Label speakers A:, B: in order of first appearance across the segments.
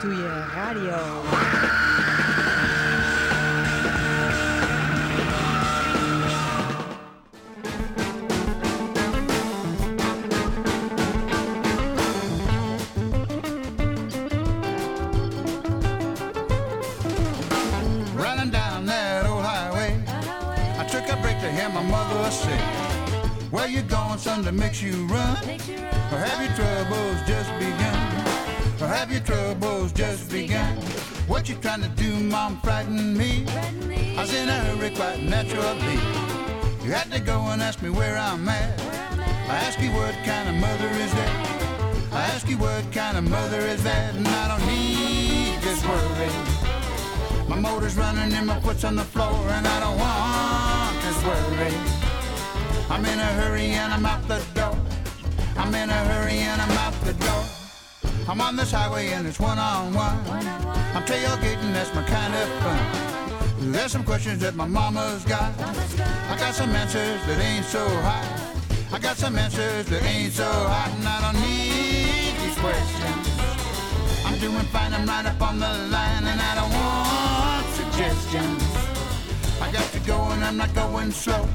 A: doe je radio.
B: running down that old highway. I took a break to hear my mother say, Where you going, son, that makes you run? Or have your troubles just begun? Or have your troubles just begun? What you trying to do, mom, frighten me? I was in a hurry, quite naturally. You had to go and ask me where I'm at. I ask you what kind of mother is that? I ask you what kind of mother is that? And I don't need this worry. My motor's running and my foot's on the floor and I don't want this worry. I'm in a hurry and I'm out the door. I'm in a hurry and I'm out the door. I'm on this highway and it's one on one. I'm tailgating, that's my kind of fun. There's some questions that my mama's got. I got some answers that ain't so hot. I got some answers that ain't so hot and I don't need these questions. I'm doing fine, I'm right up on the line, and I don't want suggestions. I got to go and I'm not going slow.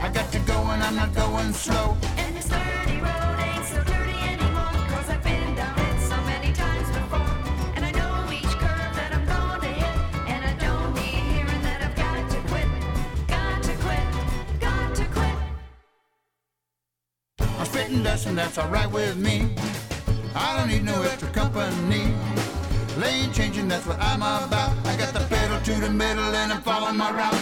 B: I got to go and I'm not going slow.
C: And this dirty road ain't so dirty anymore. Cause I've been down it so many times before. And I know each curve that I'm gonna hit. And I don't need hearing that I've got to quit. Got to quit. Got to quit.
B: I'm spitting dust and that's alright with me. I don't need no extra company. Lane changing, that's what I'm about. I got the pedal to the middle and I'm following my route.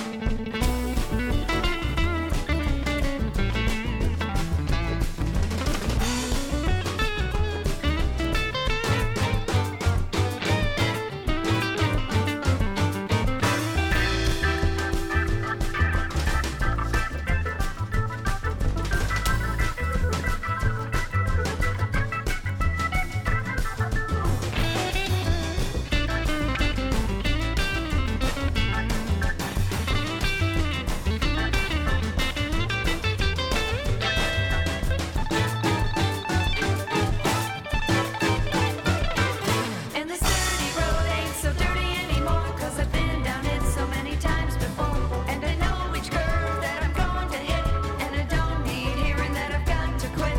C: And this dirty road ain't so dirty anymore. Cause I've been down it so many times before. And I know each curve that I'm going to hit. And I don't need hearing that I've got to quit.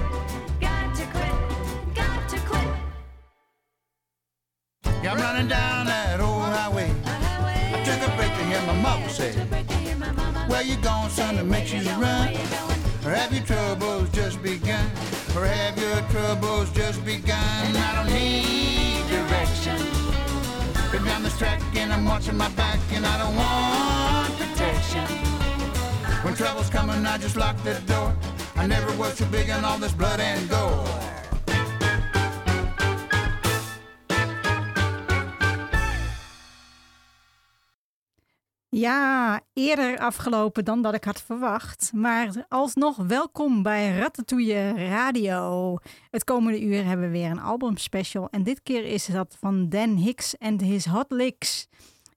C: Got to quit. Got to quit.
B: Yeah, I'm running down that old highway. I took a break to hear my mama say, Where you going, son, that makes you run? Or have your troubles just begun? Or have your troubles just begun? I don't need direction. Been down this track and I'm watching my back and I don't want protection. When trouble's coming, I just lock the door. I never was too big on all this blood and gore.
A: Ja, eerder afgelopen dan dat ik had verwacht. Maar alsnog welkom bij Ratatouille Radio. Het komende uur hebben we weer een albumspecial. En dit keer is dat van Dan Hicks and His Hot Licks.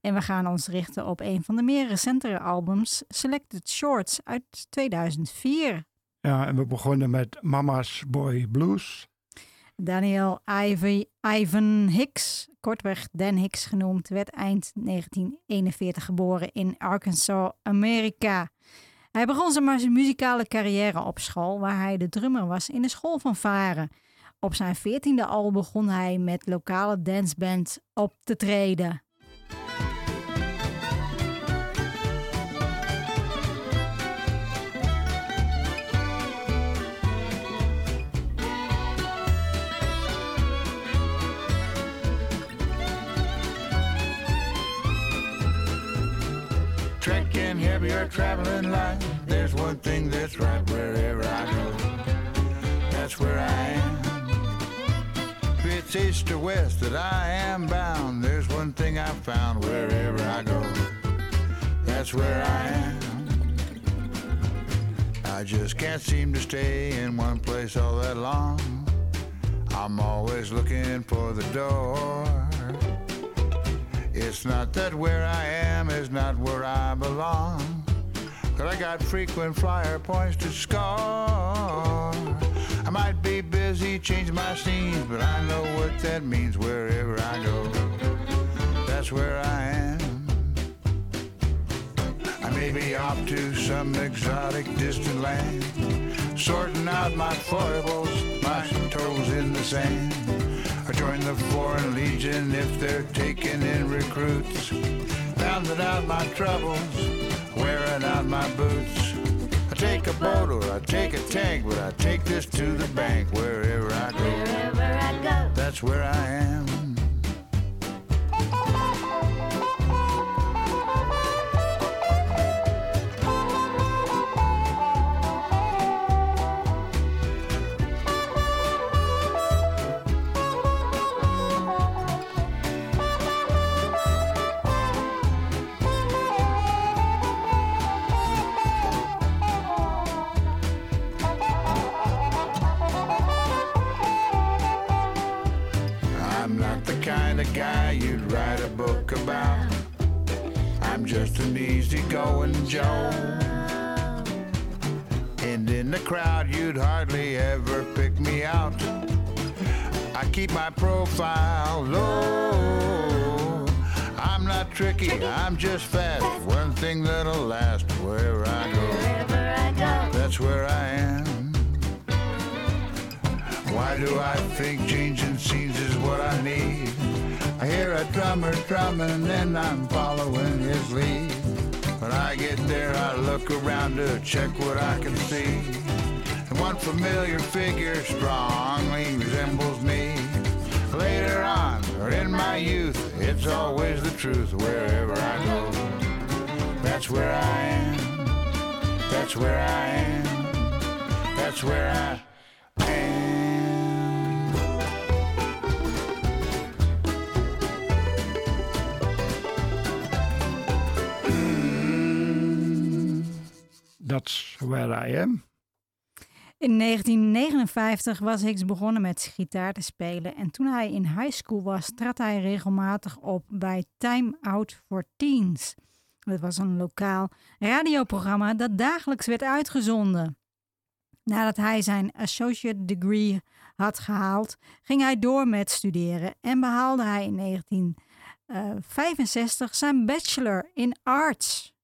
A: En we gaan ons richten op een van de meer recentere albums, Selected Shorts uit 2004.
D: Ja, en we begonnen met Mama's Boy Blues.
A: Daniel Ivy, Ivan Hicks, kortweg Dan Hicks genoemd, werd eind 1941 geboren in Arkansas, Amerika. Hij begon zijn mu- muzikale carrière op school, waar hij de drummer was in de school van Varen. Op zijn veertiende al begon hij met lokale danceband op te treden.
B: Trekking heavier, traveling light. There's one thing that's right wherever I go. That's where I am. If it's east or west that I am bound, there's one thing I found wherever I go. That's where I am. I just can't seem to stay in one place all that long. I'm always looking for the door. It's not that where I am is not where I belong. Cause I got frequent flyer points to score. I might be busy says he changed my scenes, but I know what that means wherever I go. That's where I am. I may be off to some exotic distant land, sorting out my foibles, my toes in the sand. I join the Foreign Legion if they're taking in recruits, bounding out my troubles, wearing out my boots. I take a boat or I take a tank, but I take this to the bank wherever I go.
C: Wherever I go,
B: That's where I am. I'm not the kind of guy you'd write a book about. I'm just an easygoing Joe. And in the crowd, you'd hardly ever pick me out. I keep my profile low. I'm not tricky, I'm just fast. One thing that'll last wherever I go.
C: wherever I go,
B: That's where I am. Why do I think changing scenes is what I need? I hear a drummer drumming and I'm following his lead. When I get there, I look around to check what I can see. And one familiar figure strongly resembles me. Later on, or in my youth, it's always the truth wherever I go. That's where I am. That's where I am. That's where I am.
D: That's where I am.
A: In 1959 was Hicks begonnen met gitaar te spelen en toen hij in high school was, trad hij regelmatig op bij Time Out for Teens. Dat was een lokaal radioprogramma dat dagelijks werd uitgezonden. Nadat hij zijn associate degree had gehaald, ging hij door met studeren en behaalde hij in 1965 zijn bachelor in arts.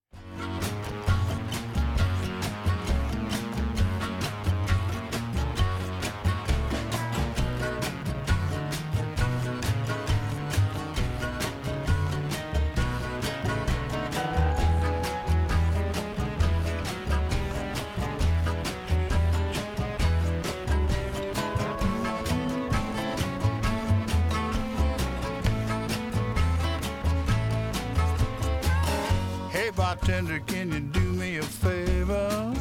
B: Hey bartender, can you do me a favor?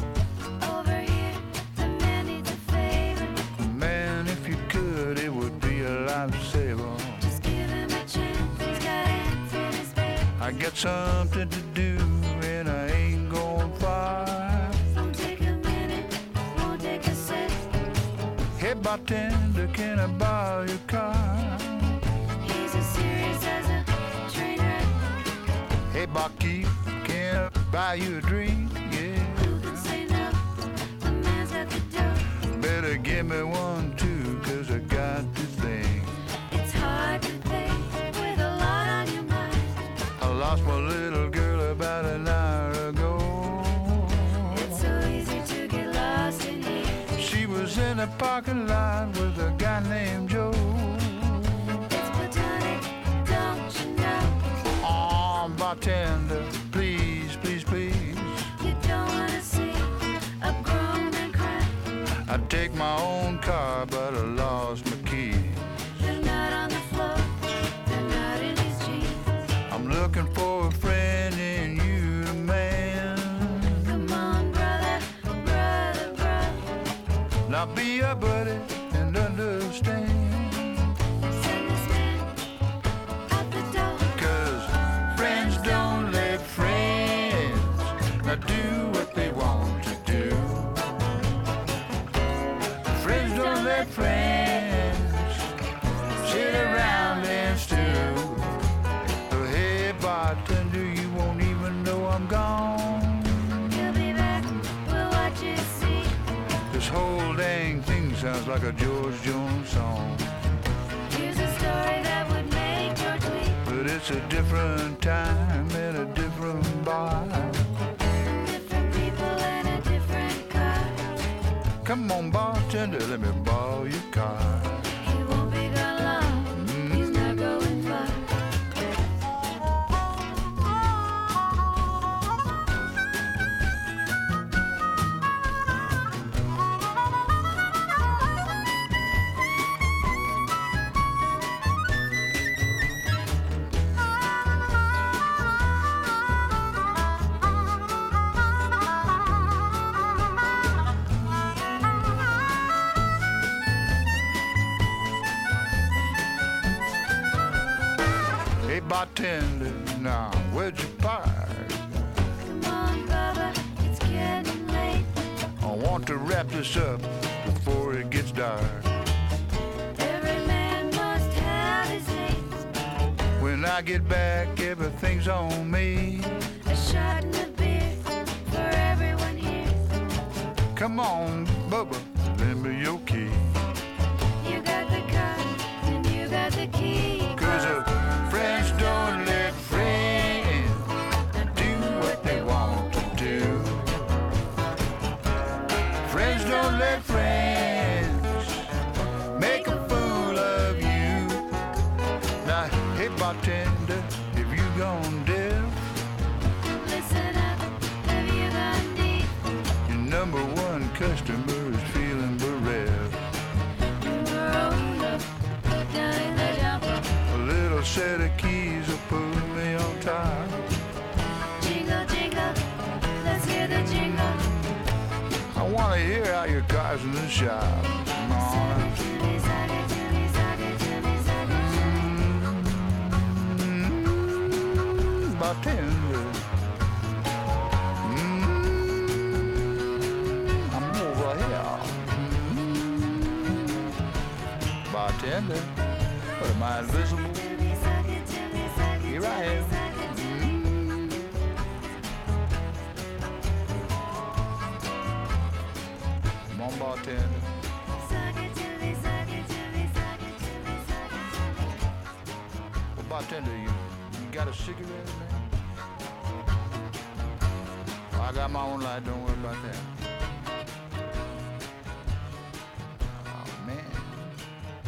C: over here, the man needs a favor.
B: Man, if you could, it would be a lifesaver.
C: Just give him a chance, he's got ants in his brain.
B: I got something to do and I ain't going far.
C: Won't take a minute, won't take a sec.
B: Hey bartender, can I borrow your car?
C: He's as serious as a train wreck.
B: Hey barkeep, can I buy you a drink? Yeah,
C: Who can say no? The man's got the dough.
B: better give me one too, cause I got this thing.
C: It's hard to think with a lot on your mind.
B: I lost my little girl about an hour ago.
C: It's so easy to get lost in here.
B: She was in a parking lot with a guy named Joe.
C: It's platonic, don't you know?
B: Oh, bartender, please, please, please.
C: You don't wanna see a grown man cry.
B: I take my own car, but I lost my key.
C: They're not on the floor. They're not in his jeans.
B: I'm looking for a friend in you, man.
C: Come on, brother, brother, brother.
B: Now be a buddy and understand.
C: Send this man out the door.
B: Cause friends don't let friends now do what they want to do. Friends don't let friends sounds like a George Jones song.
C: Here's a story that would make George weep.
B: But it's a different time and a different bar.
C: Different people and a different car.
B: Come on, bartender, let me borrow your car.
C: He won't be gone long. He's not going far.
B: Hey, bartender, now, where'd you park?
C: Come on, Baba, it's getting late.
B: I want to wrap this up before it gets dark.
C: Every man must have his day.
B: When I get back, everything's on me.
C: A shot and a beer for everyone here.
B: Come on, Bubba, lend me your key.
C: You got the car and you got the key.
B: Cause uh, friends don't let friends do what they want to do. Friends don't let friends make a fool of you. Now, hey, bartender, if you gone deaf,
C: Listen up, have you gone deep?
B: your number one customer is feeling bereft.
C: Roll up, put down the dump.
B: A little set of keys will put me on top.
C: Jingle, jingle, let's hear the jingle.
B: I wanna hear how your car's in the shop. Mama.
C: Jimmy, Sunday, Jimmy, Sunday, Jimmy, Sunday, Jimmy.
B: Mm, bartender. Mm, I'm over here. Mm, bartender. What am I invisible?
C: Jimmy, Sunday, Jimmy, Sunday,
B: Here I am.
C: Jimmy, Sunday, Jimmy.
B: Come on, bartender. Well, bartender, you, you got a cigarette, man? I got my own light, don't worry about that. Oh, man.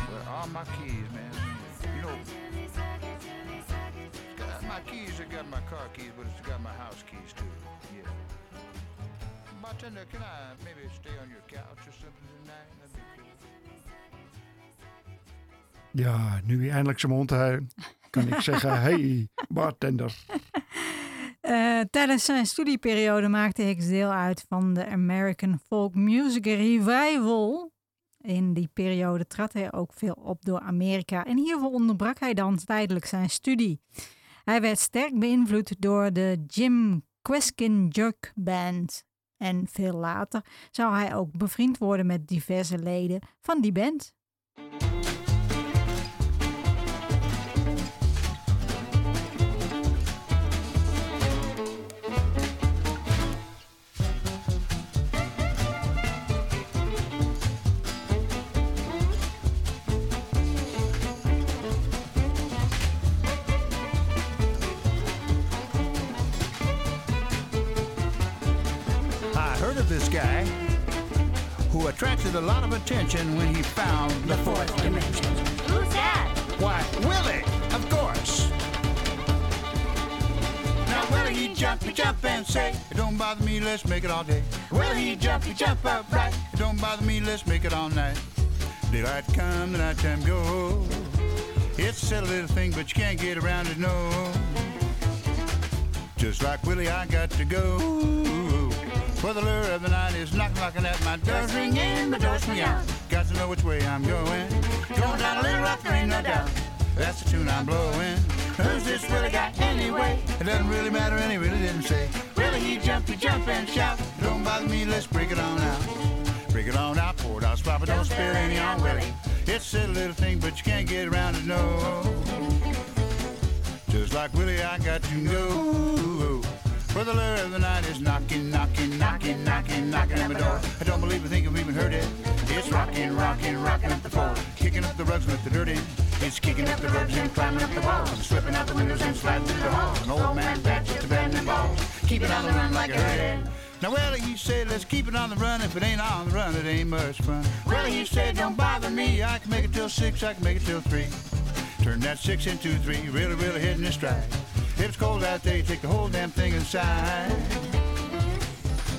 B: Where are my keys, man? You know, it's got my keys, it got my car keys, but it's got my house keys, too. Yeah. Bartender, can I maybe stay on your couch or something tonight? That'd be cool.
D: Ja, nu hij eindelijk zijn mond heeft, kan ik zeggen, hey bartender.
A: Eh, tijdens zijn studieperiode maakte Hicks deel uit van de American Folk Music Revival. In die periode trad hij ook veel op door Amerika en hiervoor onderbrak hij dan tijdelijk zijn studie. Hij werd sterk beïnvloed door de Jim Queskin Jerk Band. En veel later zou hij ook bevriend worden met diverse leden van die band.
B: I heard of this guy who attracted a lot of attention when he found the fourth dimension.
C: Who's that?
B: Why, Willie, of course. Now, Willie, he jump, he jump and say, It don't bother me, let's make it all day. Willie, he jump, he jump up right. It don't bother me, let's make it all night. Daylight come, the night time go. It's a little thing, but you can't get around it, no. Just like Willie, I got to go. For the lure of the night is knock knocking at my door.
C: Doors ring in, my doors ring out.
B: Got to know which way I'm going. Going down a little rock, there ain't no doubt. That's the tune I'm blowing. Who's this Willie guy anyway? It doesn't really matter, and he really didn't say. Willie, he jumped, he jump and shout. Don't bother me, let's break it on out. Break it on out, pour it out, swap it, don't spill any on Willie. It's a little thing, but you can't get around it, no. Just like Willie, I got to know. For the lure of the night is knocking, knocking, knocking, knocking, knocking at my door. I don't believe a thing I've even heard it. It's rocking, rocking, rocking up the floor. Kicking up the rugs with the dirty. It's kicking up the rugs and climbing up the walls. And slipping out the windows and sliding through the halls. An old man bats with abandoned balls. Keep it on the run like a herd. Now, well, he said, let's keep it on the run. If it ain't on the run, it ain't much fun. Well, he said, don't bother me. I can make it till six, I can make it till three. Turn that six into three, really, really hitting it stride. If it's cold out there, you take the whole damn thing inside.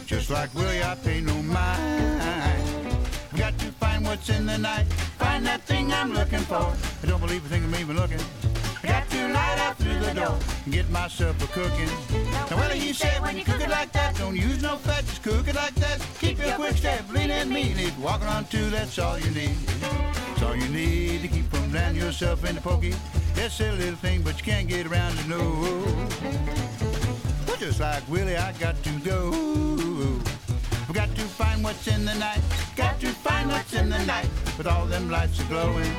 B: Just like Willie, I pay no mind. I've got to find what's in the night, find that thing I'm looking for. I don't believe a thing I'm even looking. I got to light out through the door and get myself a cooking. Now, Willie, he said, when you cook it like that, don't use no fat, just cook it like that. Keep your quick step, lean and mean. If you're walking on two, that's all you need. It's all you need to keep from down yourself in the pokey. It's a little thing, but you can't get around to know. Well, just like Willie, I got to go. I've got to find what's in the night. Got to find what's in the night. With all them lights a glowing.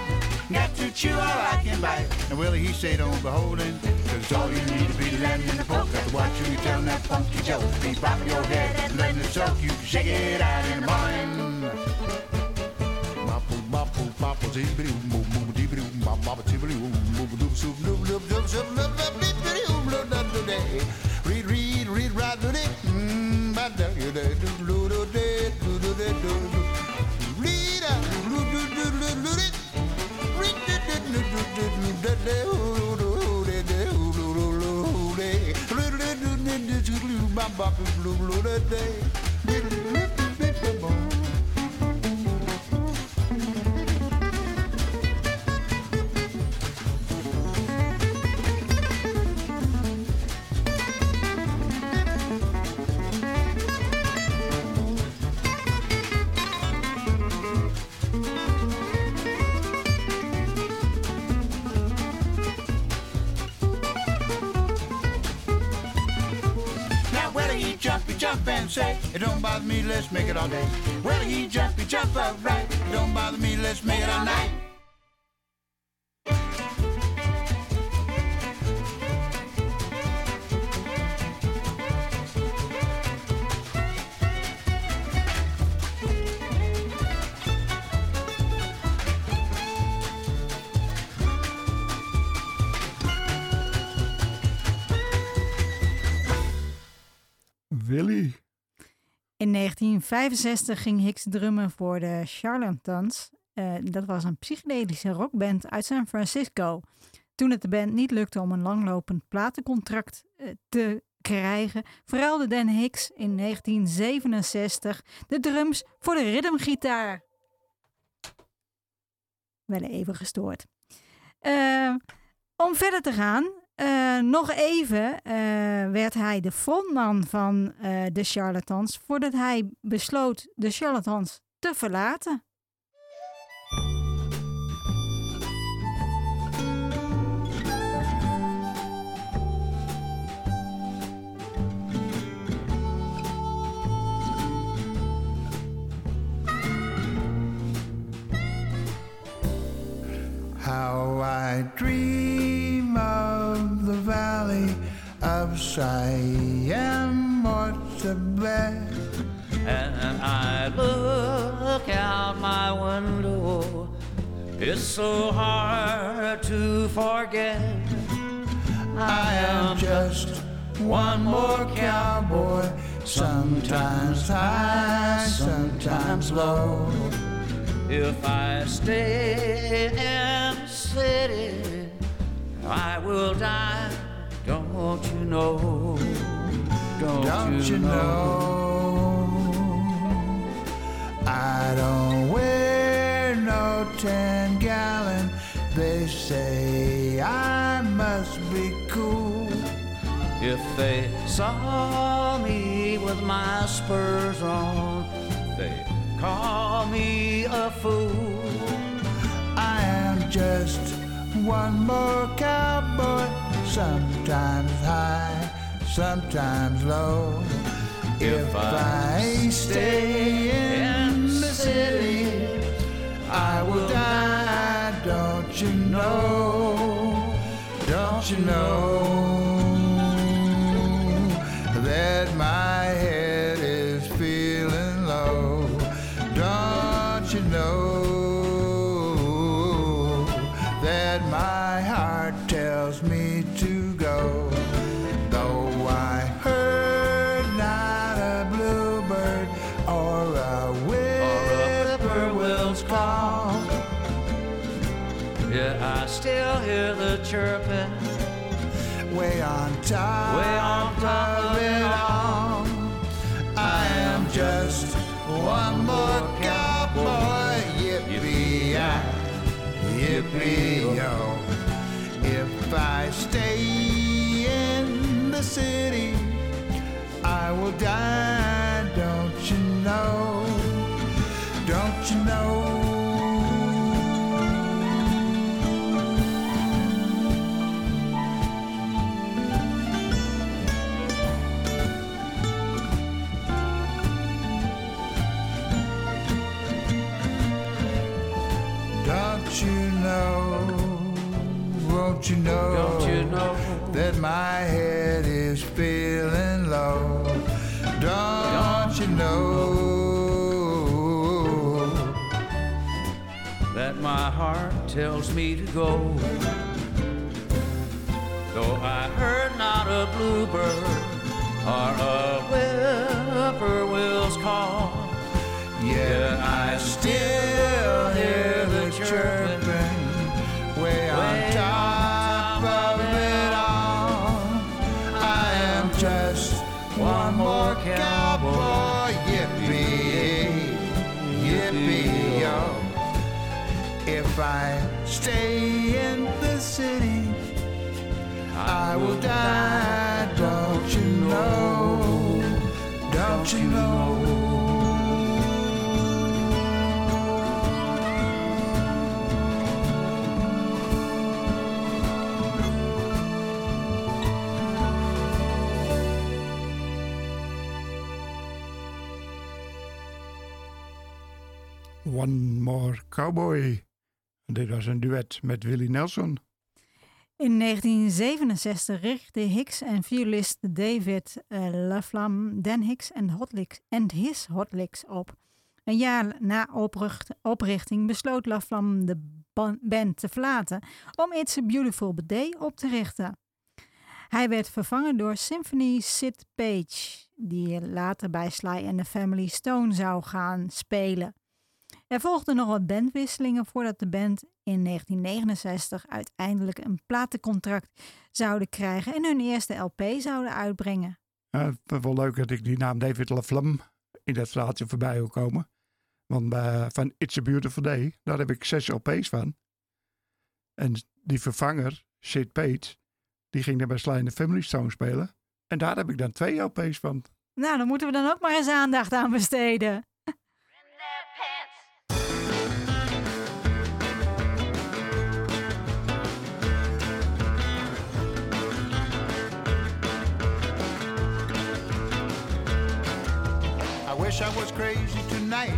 B: Got to chew all I can bite. And Willie, he say, don't beholding. Cause all you need to be landing the poke. Got to watch you tell that funky joke. Be bopping your head and letting it soak. You can shake it out in the morning. Mapu, mapu, mapu, zibri, um, um, um, dibri, um, bam, bam, zibri, um, um, dub, sub, dub, dub, dub, sub, dub, dub, dib, dibri, um, lo, da, do, de. Read, read, read, ra, do, de. Mm, ba, da, yo, de, do, lo, do, de, do, do, de, do, do. Read, ah, do, do, do, do, do, de. Read, do, do, do, do, do, do, da, de, oh, do, do, de, de, oh, do, do, lo, oh, de. Read, read, do, do, do, do, do, bam, bam, lo, lo, da, de. Read, read, read, read, bam. Now, whether he jump, he jump and say, It don't bother me, let's make it all day. Whether he jump, he jump alright. It don't bother me, let's make it all night.
D: Willy.
A: In 1965 ging Hicks drummen voor de Charlatans. Eh, dat was een psychedelische rockband uit San Francisco. Toen het de band niet lukte om een langlopend platencontract eh, te krijgen, verruilde Dan Hicks in 1967 de drums voor de rhythmgitaar. Wel even gestoord. Eh, om verder te gaan, eh, nog even eh, werd hij de frontman van eh, de Charlatans voordat hij besloot de Charlatans te verlaten.
B: How I dream of the valley of Siam, what's the best?
E: and I look out my window. It's so hard to forget.
B: I am just one more cowboy, sometimes high, sometimes low.
E: If I stay in the city, I will die. Don't you know? Don't,
B: Don't you know? I don't wear no ten gallon. They say I must be cool.
E: If they saw me with my spurs on, they call me a fool.
B: I am just one more cowboy, sometimes high, sometimes low. If I stay in the city, I will die, don't you know? Don't you know? that my heart tells me to go. Though I heard not a bluebird or a whippoorwill's call.
E: Yeah, I still hear the chirping
B: way on top,
E: Way on top
B: of
E: of
B: it
E: it
B: all. I am just one more cowboy. Yippee-yi, yippee-yo. If I stay in the city, I will die, don't you know? Don't you know? Don't you know? Won't you know?
E: Don't you know?
B: that my head is feeling low? Don't you know?
E: that my heart tells me to go. Though I heard not a bluebird or a whippoorwill's call.
B: Yet I still hear the chirping way on
E: Way
B: top
E: on top
B: of
E: of
B: it
E: it
B: all. I am just one more cowboy. Yippee, yippee, yo. If I stay in the city, I will die. Don't you know? Don't you know?
D: One More Cowboy. Dit was een duet met Willie Nelson.
A: In 1967 richtten Hicks en violist David eh, Laflamme Dan Hicks en Hot Licks and His Hot Licks op. Een jaar na opricht- oprichting besloot Laflamme de ban- band te verlaten om It's a Beautiful Day op te richten. Hij werd vervangen door Symphony Sid Page, die later bij Sly and the Family Stone zou gaan spelen. Er volgden nog wat bandwisselingen voordat de band in 1969 uiteindelijk een platencontract zouden krijgen en hun eerste LP zouden uitbrengen.
D: Eh, ik vind het wel leuk dat ik die naam David Laflamme in dat verhaaltje voorbij wil komen. Want eh, van It's a Beautiful Day, daar heb ik zes LP's van. En die vervanger, Sid Page, die ging dan bij Sly and the Family Stone spelen. En daar heb ik dan twee LP's van.
A: Nou, dan moeten we dan ook maar eens aandacht aan besteden.
B: I wish I was crazy tonight,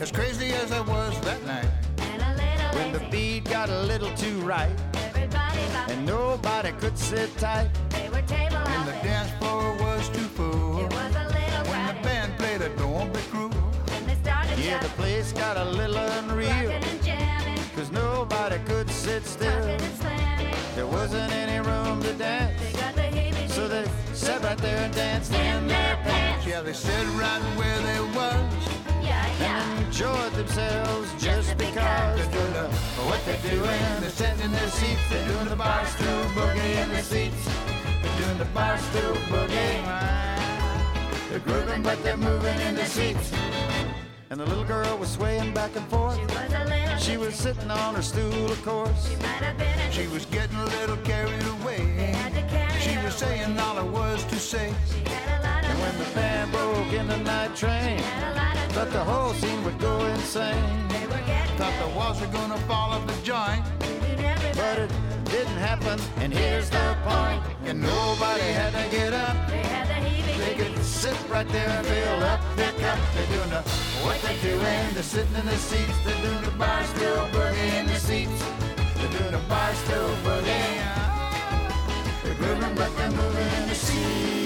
B: as crazy as I was that night. When the beat got a little too right, and nobody could sit tight, and the dance floor was too full. When the band played a don't be cruel, yeah, the place got a little unreal, cause nobody could sit still. There wasn't any room to dance. So they sat right there and danced in their pants. Yeah, they stood right where they was and enjoyed themselves just because they're doing the, what they're doing. They're sitting in their seats. They're doing the barstool boogie in their seats. They're doing the barstool boogie. They're grooving, but they're moving in their seats. And the little girl was swaying back and forth. She was sitting on her stool, of course. She was getting a little carried away. She was saying all there was to say. And when the band broke in the night train, thought the whole scene would go insane. Thought the walls were gonna fall off the joint, but it didn't happen. And here's the point: and nobody had to get up. They could sit right there and fill up their cup. They're doing the, what they're doing. They're sitting in their seats. They're doing the bar still boogie in the seats. They're doing the bar still boogie. They're grooving, but they're moving in the seats.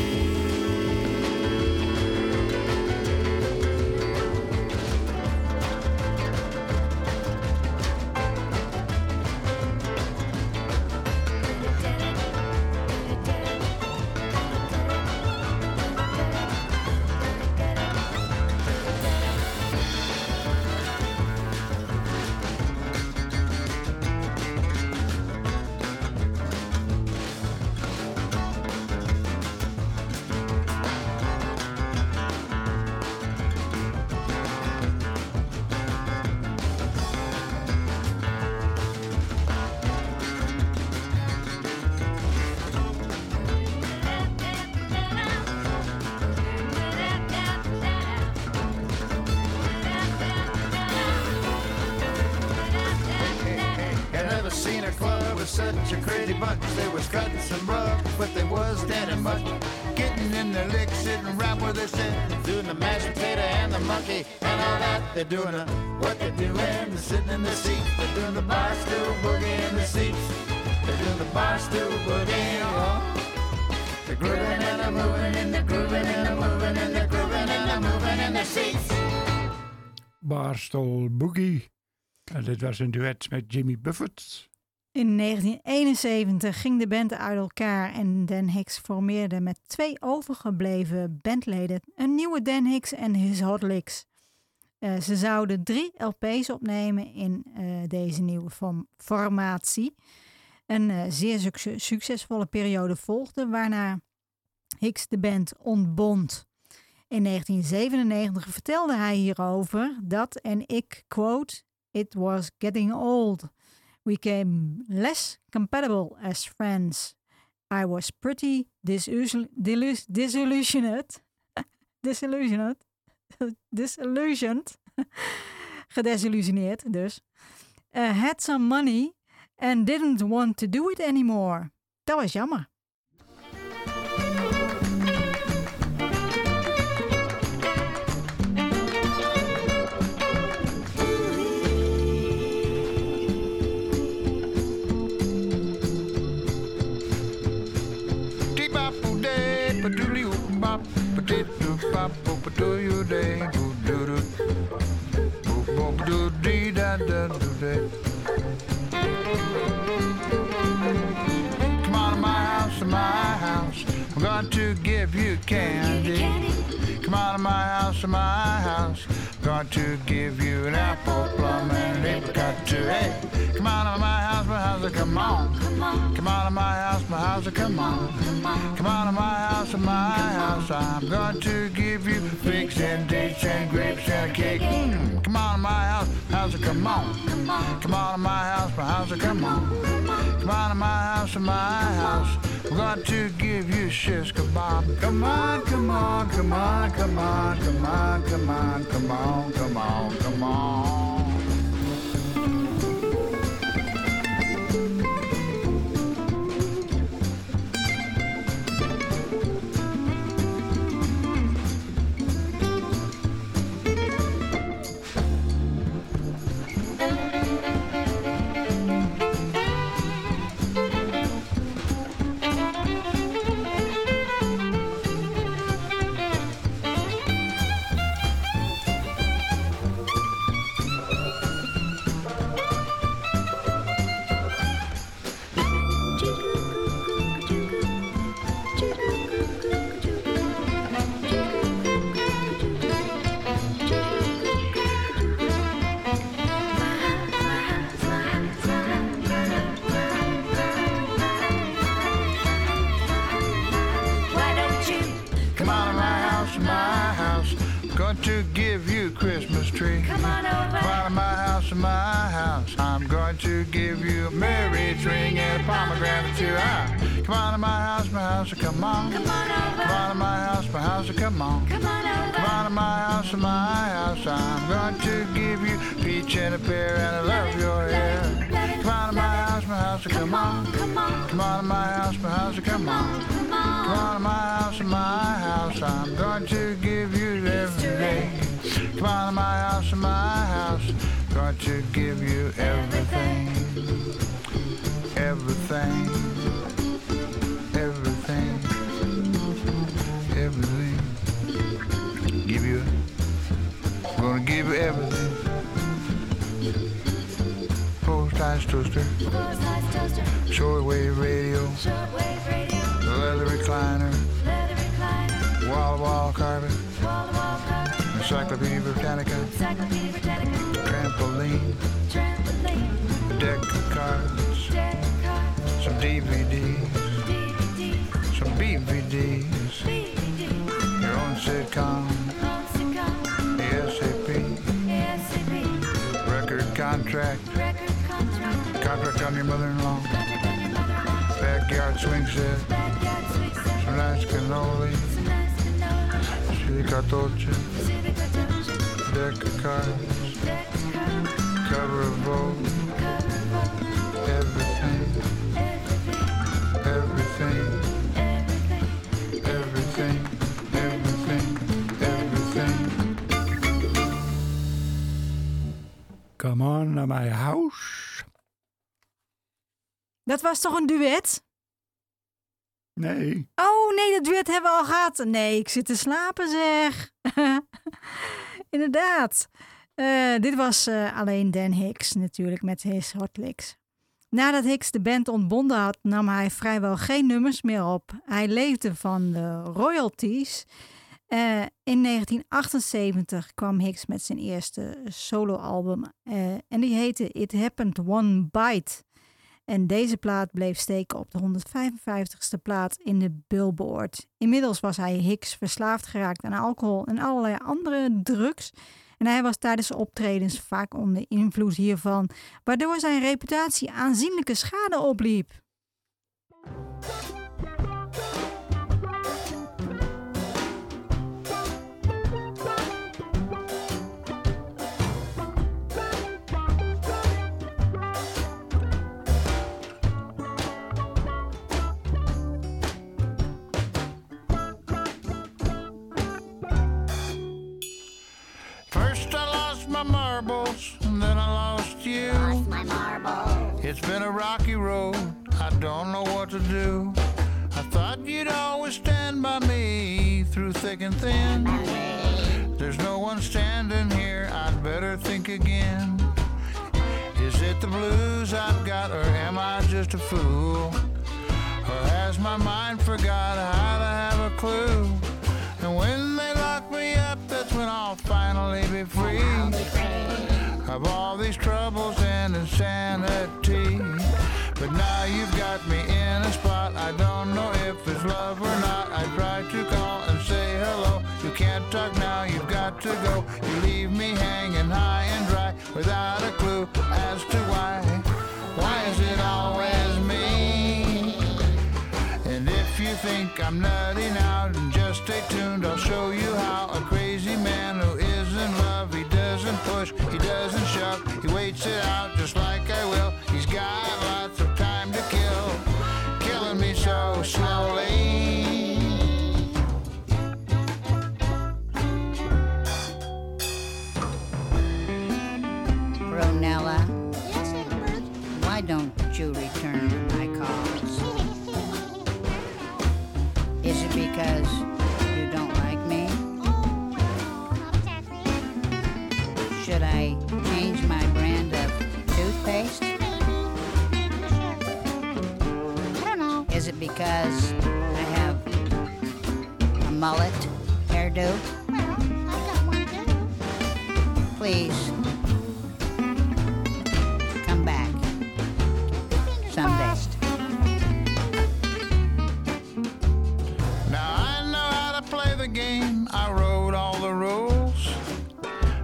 B: the club was such a crazy bunch. They was cutting some rough, but they was daddy much. Getting in their licks, sitting right where they sit. Doing the mashed potato and the monkey and all that. They're doing a, what they're doing. They're sitting in the seat. They're doing the bar still boogie in the seats. They're doing the bar still boogie. Oh. They're grooving and they're moving and they're grooving and they're moving and they're grooving and they're moving in their seats.
D: Barstool Boogie. En dit was een duet met Jimmy Buffett.
A: In 1971 ging de band uit elkaar en Dan Hicks formeerde met twee overgebleven bandleden een nieuwe Dan Hicks en His Hot Licks. Eh, ze zouden drie LP's opnemen in eh, deze nieuwe form- formatie. Een eh, zeer succe- succesvolle periode volgde, waarna Hicks de band ontbond. In 1997 vertelde hij hierover dat, en ik quote, It was getting old. We came less compatible as friends. I was pretty disillu- dilus- disillusioned. disillusioned. disillusioned. Gedesillusioneerd dus. Eh, had some money and didn't want to do it anymore. Dat was jammer.
B: Dee-bop, oh, day, padoodly, oh, bop, pa-dee-doo-bop, oh, padoo-you, day, boo-doo-doo. Boo- boo- boo-doo-dee-da-da-doo-day. Come on to my house, to my house. I'm going to give you candy. Come on to my house, to my house. I'm going to give you an apple, plum, and an apricot too. Hey, come on to my house, my house, come on. Come on to my house, my house, come on. Come on to my house, to my house. I'm going to give you figs and dates and grapes and a cake. Mm. Come on to my house, house, come on. Come on to my house, my house, come on. Come on to my house, to my house. I'm going to give you shish kebab. Come on, come on, come on, come on, come on, come on, come on, come on, come on.
C: Why don't you?
B: Come on to my house, my house. I'm going to give you a Christmas tree.
C: Come on
B: Come
C: over.
B: out of my house, to my house. I'm going to give you a marriage ring and a pomegranate too. Ah, come out of my house, my house, come on. Come
C: Come on over.
B: out of my house, my house, come on.
C: Come on
B: Come
C: over.
B: out of my house, to my house. I'm going to give you a peach and a pear and I love your hair. Come out of my house, my house, come on.
C: Come on.
B: Come out of my house, my house, come on.
C: Come on.
B: Come out of my house, to my house. I'm going to give you every day. Come out of my house, to my house. Going to give you everything. Everything. Everything. Everything. Give you. I'm gonna give you everything. Four slice toaster,
C: Full size toaster.
B: shortwave radio,
C: Shortwave radio.
B: leather recliner,
C: Leather recliner.
B: wall to wall carpet.
C: Wall to wall cover.
B: Encyclopedia Britannica,
C: Encyclopedia Britannica.
B: trampoline,
C: Trampoline.
B: deck of cards,
C: Deck of cards.
B: some DVDs,
C: DVD's.
B: some BVDs,
C: BD's.
B: your own sitcom,
C: Home sitcom.
B: ASAP,
C: ASCP.
B: record contract,
C: Record contract.
B: contract on your mother-in-law,
C: Contract on your mother-in-law.
B: backyard swing set,
C: Backyard sweet set.
B: some nice cannoli,
C: Some nice cannoli.
B: chili cartoccia,
C: Civic attention.
B: deck of cards,
C: Deck of cards.
B: cover of Vogue,
C: Cover of
B: everything,
D: Come on naar my house.
A: Dat was toch een duet?
D: Nee,
A: Oh nee, dat duet hebben we al gehad. Nee, ik zit te slapen zeg. Inderdaad. Eh, dit was eh, alleen Dan Hicks natuurlijk met His Hot Licks. Nadat Hicks de band ontbonden had, nam hij vrijwel geen nummers meer op. Hij leefde van de royalties. Eh, in 1978 kwam Hicks met zijn eerste soloalbum eh, en die heette It Happened One Bite. En deze plaat bleef steken op de 155ste plaats in de Billboard. Inmiddels was hij Hicks verslaafd geraakt aan alcohol en allerlei andere drugs. En hij was tijdens optredens vaak onder invloed hiervan, waardoor zijn reputatie aanzienlijke schade opliep.
B: First I lost my marbles, and then I lost you. Lost my marbles. It's been a rocky road. I don't know what to do. I thought you'd always stand by me through thick and thin. There's no one standing here. I'd better think again. Is it the blues I've got, or am I just a fool? Or has my mind forgot how to have a clue? And when they lock me up, that's when I'll finally be free of all these troubles and insanity. But now you've got me in a spot. I don't know if it's love or not. I tried to call and say hello. You can't talk now, you've got to go. You leave me hanging high and dry without a clue as to why. Why is it always me? And if you think I'm nutting out, then just stay tuned. I'll show you how a crazy man who is in love, he doesn't push, he doesn't shove, he waits it out just like I will. He's got lots of time to kill, killing me so slowly.
F: Ronella. Why don't you return my calls? Is it because you don't like me? Should I change my brand of toothpaste? Is it because I have a mullet hairdo? Please come back someday.
B: Now I know how to play the game. I wrote all the rules.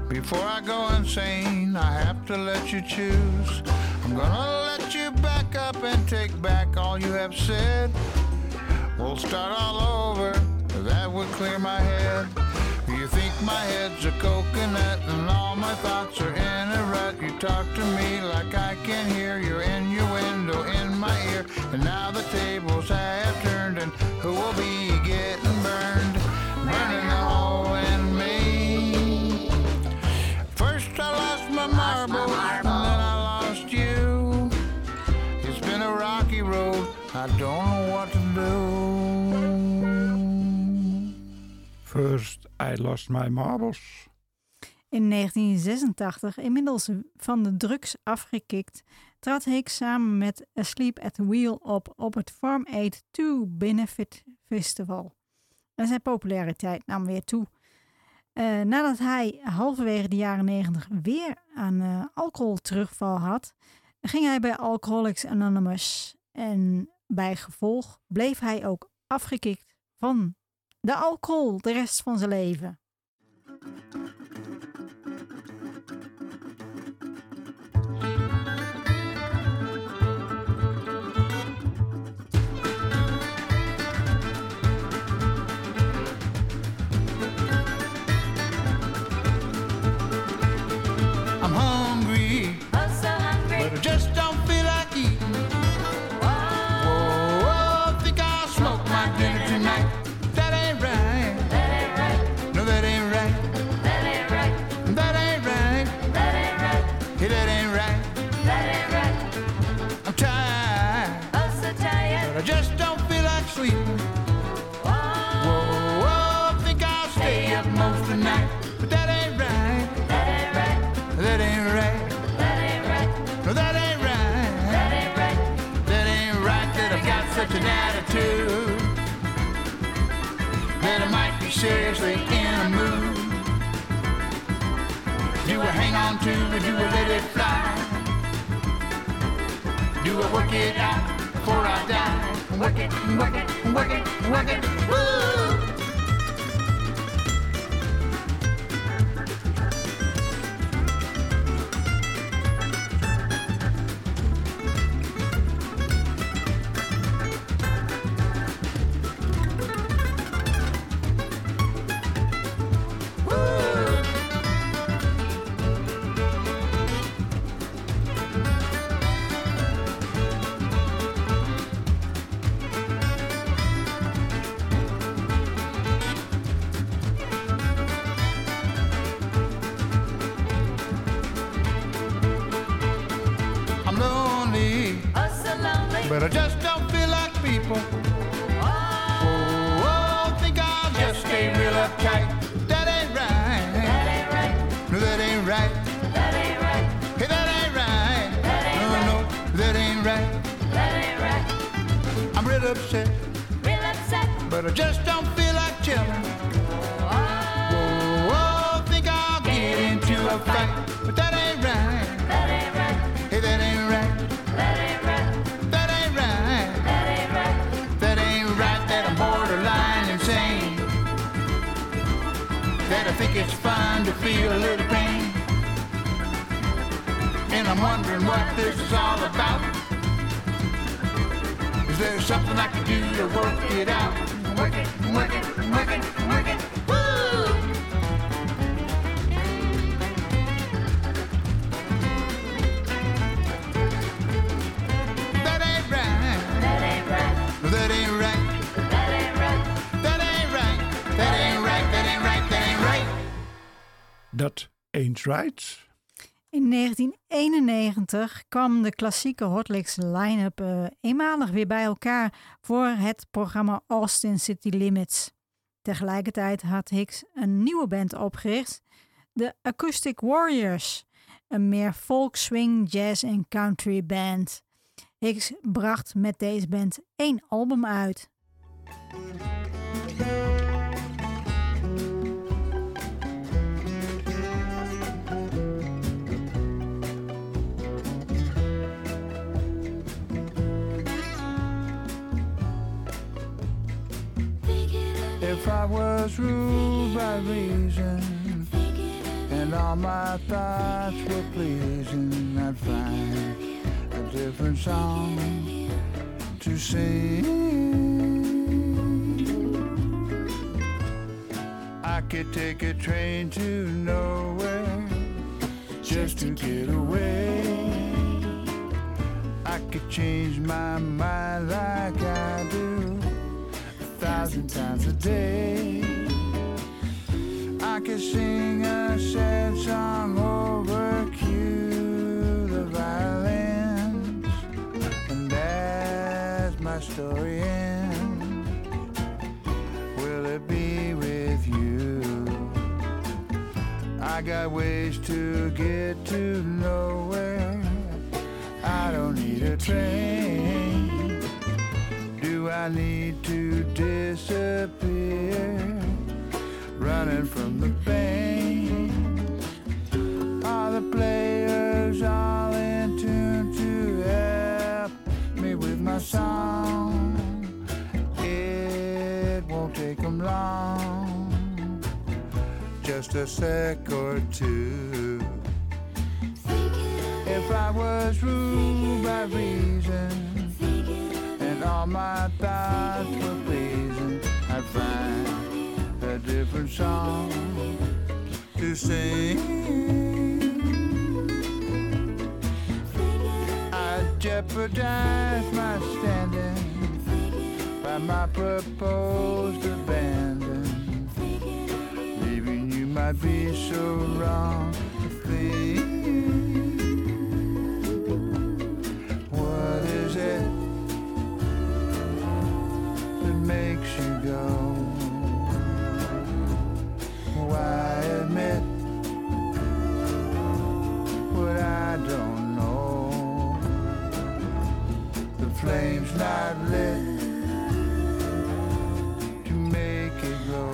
B: Before I go insane, I have to let you choose. I'm gonna let you back up and take back all you have said. We'll start all over. That would clear my head. You think my head's a coconut and all my thoughts are in a rut. You talk to me like I can hear your innuendo in my ear. And now the tables have turned and who will be getting burned? Burning a hole in me. First I lost my marbles, and then I lost you. It's been a rocky road. I don't know what to do.
D: first I lost my marbles.
A: In 1986, inmiddels van de drugs afgekikt, trad Hicks samen met Asleep at the Wheel op op het Farm Aid 2 Benefit Festival. En zijn populariteit nam weer toe. Eh, nadat hij halverwege de jaren 90 weer aan eh alcoholterugval had, ging hij bij Alcoholics Anonymous. En bij gevolg bleef hij ook afgekikt van de alcohol de rest van zijn leven.
B: I'm hungry, but I just don't feel like eating. Whoa, I think I'll smoke my dinner tonight. That ain't right. No, that ain't right. sleep. Whoa, whoa, Oh, think I'll stay up most of the night. But that ain't right. That ain't right. No, that ain't right. That ain't right that I've got such an attitude. That I might be seriously in a mood. Do I hang on to or do I let it fly? Do I work it out before I die? Work it, work it, work it, work it, woo! I'm lonely, but I just don't feel like people. Oh, I think I'll just stay real uptight. That ain't right. No, that ain't right. Hey, that ain't right. No, no, that ain't right. I'm real upset, but I just don't feel like chilling. Oh, I think I'll get into a fight, but that ain't right. Hey, that ain't right. That ain't right. That ain't right. That I'm borderline insane. That I think it's fun to feel a little pain. And I'm wondering what this is all about. Is there something I can do to work it out? Work it, work it, work it, work it. Woo! That ain't right. That ain't right. That ain't right. That ain't right. That ain't right. That ain't right.
D: Dat ain't right.
A: In 1991 kwam de klassieke Hotlicks line-up eh, eenmalig weer bij elkaar voor het programma Austin City Limits. Tegelijkertijd had Hicks een nieuwe band opgericht, de Acoustic Warriors, een meer folk, swing, jazz en country band. Hicks bracht met deze band één album uit.
B: If I was ruled by reason and all my thoughts were pleasing, I'd find a different song to sing. I could take a train to nowhere just to get away. I could change my mind like I do thousand times a day. I could sing a sad song over cue the violins, and as my story ends, will it be with you? I got ways to get to nowhere. I don't need a train. Do I need to disappear? Running from the pain. Are the players all in tune to help me with my song? It won't take 'em long, just a sec or two. If I was ruled by reason and all my thoughts were pleasing, I'd find a different song to sing. I jeopardize my standing by my proposed abandon, leaving you might be so wrong. Think, What is it? that flame's not lit to make it glow,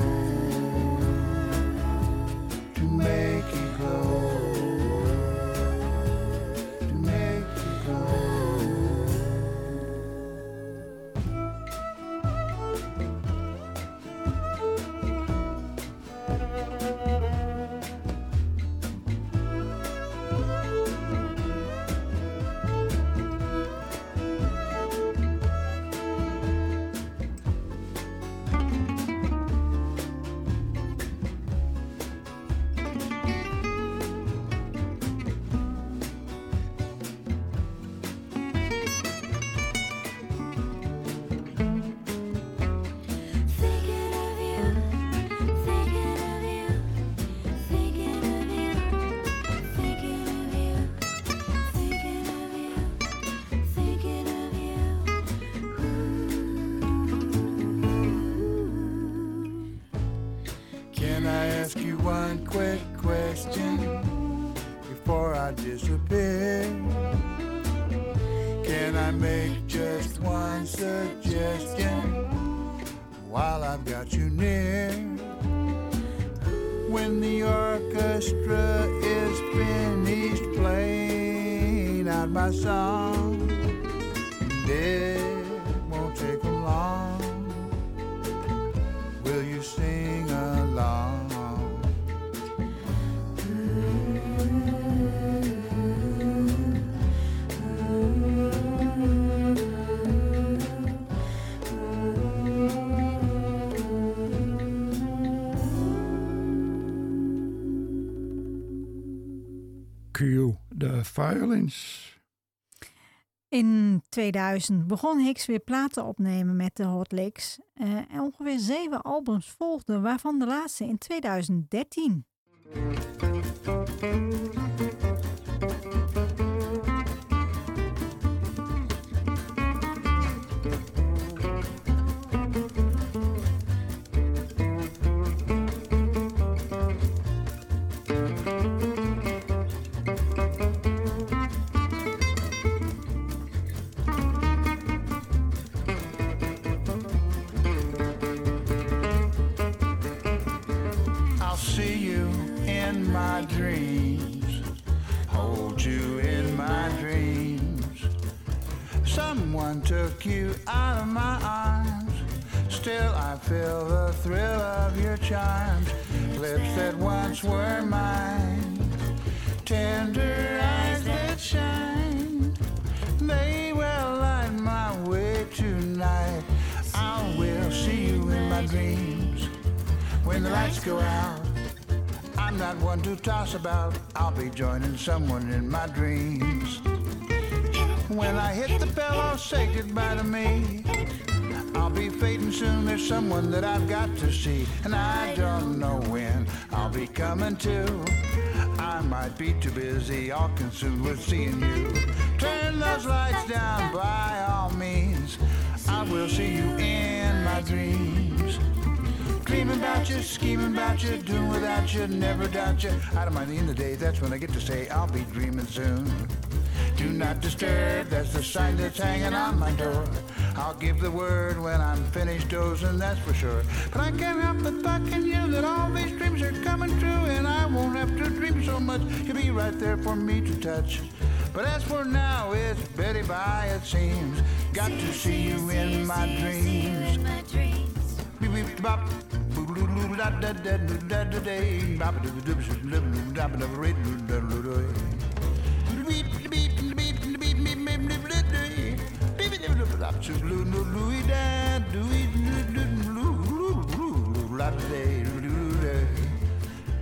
B: to make it glow, to make it glow.
C: Thinking of you, thinking of you, thinking of you, thinking of you, thinking of you, thinking of you.
B: Can I ask you one quick question before I disappear? Can I make just one suggestion while I've got you near? When the orchestra is finished playing out my song, and it won't take 'em long. Will you sing along?
D: Q, de violins.
A: In 2000 begon Hicks weer platen opnemen met de Hot Licks. Eh, en ongeveer zeven albums volgden, waarvan de laatste in 2013.
B: I'll see you in my dreams. Hold you in my dreams. Someone took you out of my arms. Still, I feel the thrill of your charms. Lips that once were mine. Tender eyes that shine. They will light my way tonight. I will see you in my dreams. When the lights go out, I'm not one to toss about. I'll be joining someone in my dreams. When I hit the pillow, say goodbye to me. I'll be fading soon. There's someone that I've got to see, and I don't know when I'll be coming to. I might be too busy, all consumed with seeing you. Turn those lights down by all means. I will see you in my dreams. Dreaming about you, scheming about you, doing without you, never doubt you. Out of my in the day, that's when I get to say I'll be dreaming soon. Do not disturb, that's the sign that's hanging on my door. I'll give the word when I'm finished dozing, that's for sure. But I can't help but thanking you that all these dreams are coming true, and I won't have to dream so much. You'll be right there for me to touch. But as for now, it's Betty bye, it seems. Got to see you in my dreams. Beep, beep, bop. Boodaloo, da, da, da, da, da, da, day. Bop, da, da, da, da, da, da, da, da, da, da, da, da, da, da. Beep, beep, beep, beep, beep, beep, beep, beep, beep, da, da. Beep, beep, beep, beep, bop. Choo, loo, loo, loo, da, doo, doo, doo, loo, loo, loo, loo, la, da, day, loo, loo, da.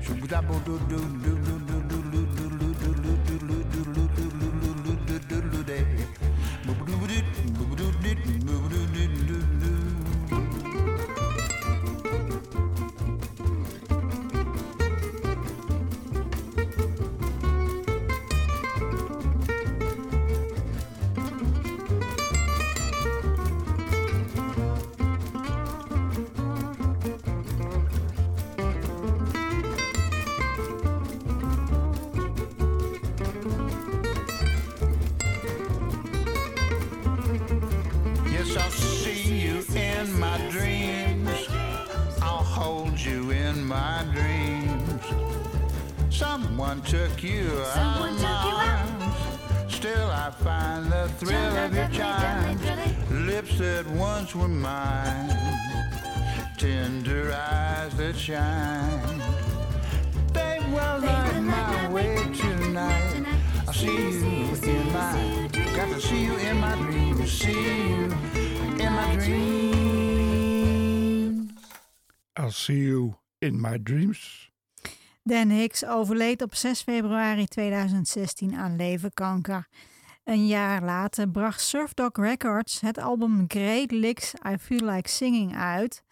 B: Choo, da, bo, doo, doo, doo, doo, doo, doo, loo, doo, loo, doo, loo, doo, loo, doo, loo, doo, loo, loo, loo, doo, doo, loo, day. Boo, boo, doo, doo, boo, boo, doo, doo, boo, boo, doo, doo, doo, doo. shall see you in my dreams. I'll hold you in my dreams. Someone took you out
C: Someone
B: of
C: took
B: my
C: you out.
B: arms. Still, I find the thrill of your charms. Lips that once were mine. Tender eyes that shine. They will light my way tonight. I see you in my got to see you in my dreams. See you in my dreams.
D: I'll see you in my dreams.
A: Dan Hicks overleed op 6 februari 2016 aan leverkanker. Een jaar later bracht Surf Dog Records het album Great Licks I Feel Like Singing uit.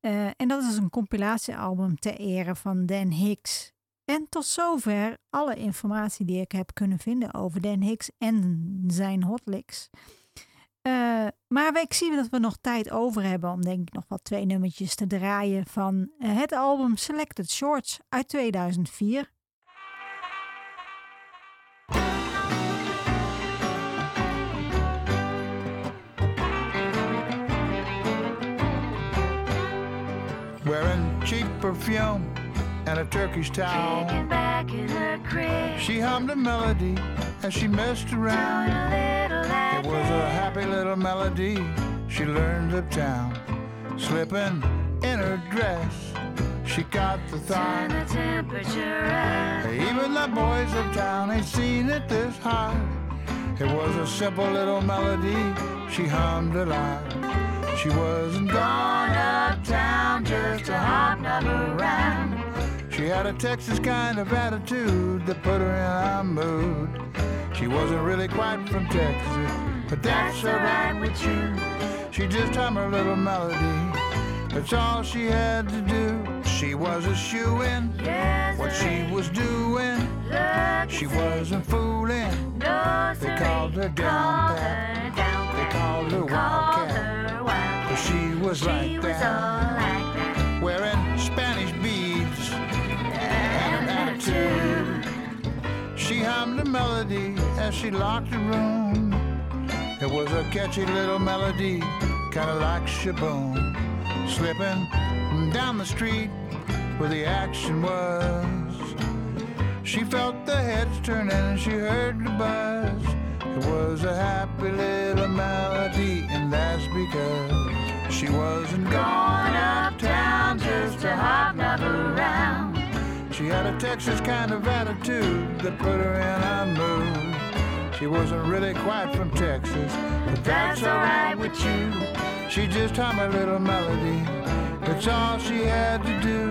A: Eh, en dat is een compilatiealbum ter ere van Dan Hicks. En tot zover alle informatie die ik heb kunnen vinden over Dan Hicks en zijn hotlicks. Eh, maar ik zie dat we nog tijd over hebben om denk ik nog wel twee nummertjes te draaien van eh, het album Selected Shorts uit 2004.
B: Wearing cheap perfume and a Turkish towel.
C: Kicking back in her crib,
B: She hummed a melody and she messed
C: doing
B: around.
C: a little
B: It was
C: laugh.
B: a happy little melody she learned uptown. Slipping in her dress, she got the thought.
C: Turn the temperature up.
B: Even the boys of town ain't seen it this high. It was a simple little melody she hummed aloud. She wasn't gone uptown just to hobnob around. She had a Texas kind of attitude that put her in a mood. She wasn't really quite from Texas, but that's alright with you. She just hummed her little melody. That's all she had to do. She was a shoo-in
C: Yes,
B: what she was doing.
C: look,
B: She wasn't fooling.
C: no,
B: They
C: siree.
B: called her down
C: Call
B: pat.
C: her down.
B: They called her
C: Call
B: wildcat.
C: her wild.
B: But she was
C: She
B: like
C: was all
B: that.
C: like that.
B: Wearing Spanish beads and an attitude. She hummed a melody as she locked the room. It was a catchy little melody, kinda like Shaboom. Slipping down the street where the action was. She felt the heads turning and she heard the buzz. It was a happy little melody, and that's because she wasn't gone uptown just to hobnob around. She had a Texas kind of attitude that put her in a mood. She wasn't really quite from Texas, but that's alright with you. She just hummed a little melody. That's all she had to do.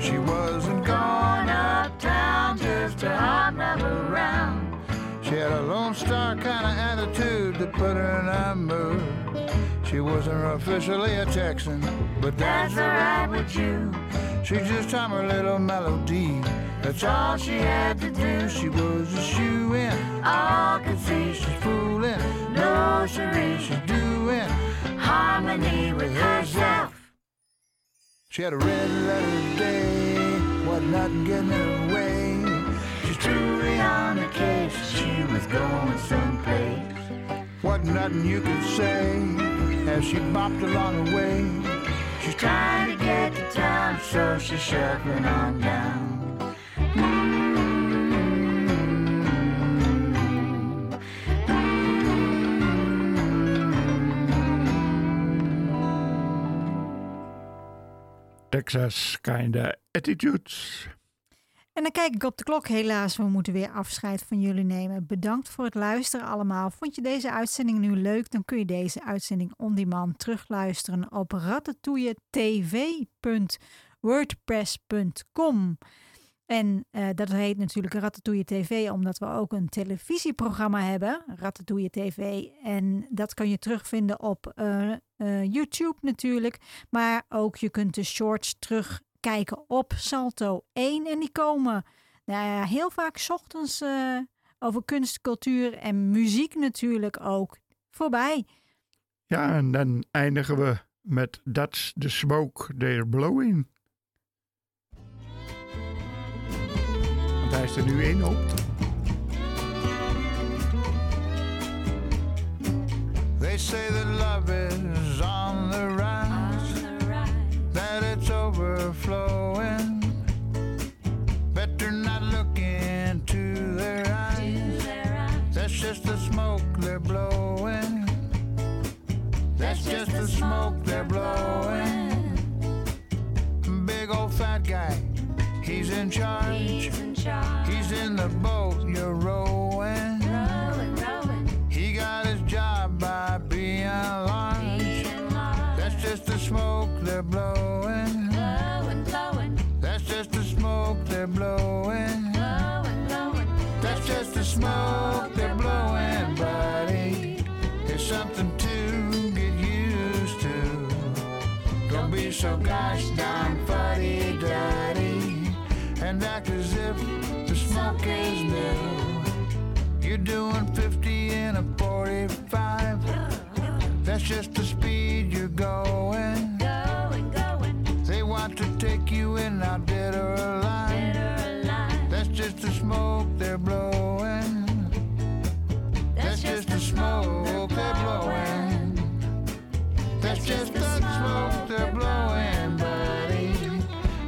B: She wasn't gone uptown just to hobnob around. She had a Lone Star kind of attitude that put her in a mood. She wasn't officially a Texan, but that's alright with you. She just hummed her little melody. That's all she had to do. She was a shoe in. All could see she's fooling. No, siree, she's doing harmony with herself. She had a red letter day, was not getting her way. She's truly on the case, she was going someplace. What nothing you could say as she bopped along the way. She's trying to get to town, so she's shuffling on down.
D: Texas kinda attitudes.
A: En dan kijk ik op de klok. Helaas, we moeten weer afscheid van jullie nemen. Bedankt voor het luisteren allemaal. Vond je deze uitzending nu leuk? Dan kun je deze uitzending on demand terugluisteren op ratatouilletv.wordpress.com. En eh, dat heet natuurlijk Ratatouille TV, omdat we ook een televisieprogramma hebben, Ratatouille TV. En dat kan je terugvinden op eh, eh, YouTube natuurlijk. Maar ook je kunt de shorts terugkijken op Salto 1. En die komen nou ja, heel vaak 's ochtends eh, over kunst, cultuur en muziek natuurlijk ook voorbij.
D: Ja, en dan eindigen we met That's the Smoke They're Blowing. Want hij is er nu in op.
B: They say that love is on the rise, that it's overflowing. Better not look into their eyes. That's just the smoke they're blowing. That's just the smoke they're blowing. Big old fat guy, he's in charge. He's in the boat you're rowing. He got his job by being large. That's just the smoke they're blowing. That's just the smoke they're blowing. That's just the smoke they're blowing, buddy. It's something to get used to. Don't be so gosh darn fuddy duddy and act as if the smoke is new. You're doing 50 in a 45. That's just the speed you're going. They want to take you in, now dead or alive. That's just the smoke they're blowing. That's just the smoke they're blowing. That's just the smoke they're blowing, buddy.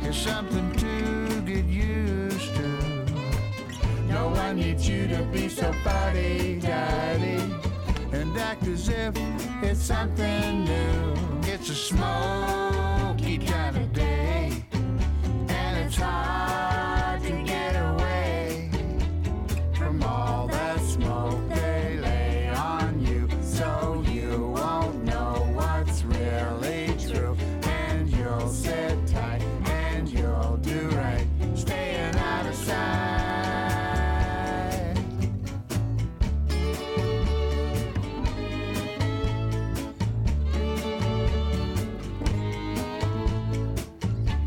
B: It's something to get used to. No one needs you to be so fuddy duddy and act as if it's something new. It's a smoky kind of day, and it's hard to get away from all that smoke they lay on you, so you won't know what's really true. And you'll sit tight and you'll do right, staying out of sight.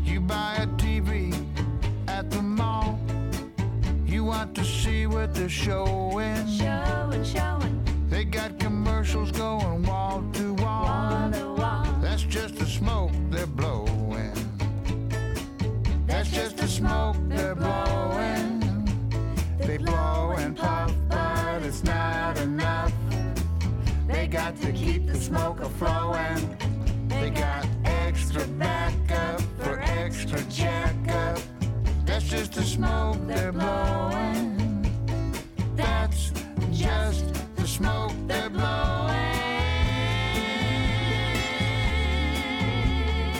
B: You buy a TV at the mall. You want to see what the show is. They got commercials going wall to wall. That's just the smoke they're blowing. That's just the smoke they're blowing. They blow and puff, but it's not enough. They got to keep the smoke a flowing. They got extra backup for extra checkup. That's just the smoke they're blowing. That's just the smoke they're blowing.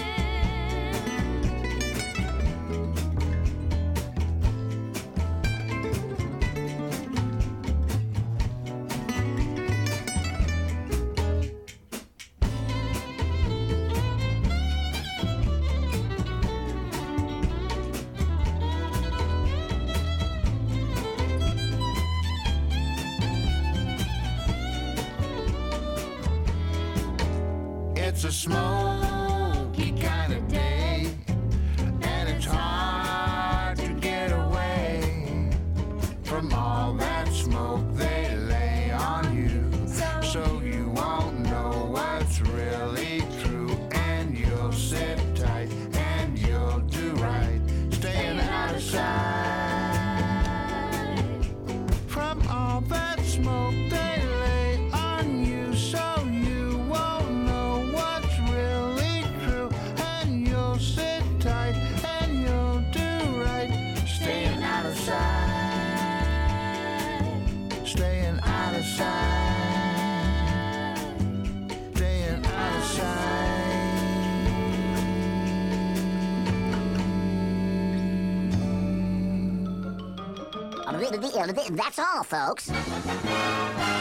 B: It's a smoky kind of day, and it's hard to get away from all that smoke they lay on you. So you won't know what's really true, and you'll sit tight and you'll do right, staying out of sight from all that smoke they lay on you so you won't know what's really true and you'll sit tight and you'll do right staying out of sight staying out of sight staying out of sight
G: That's all, folks.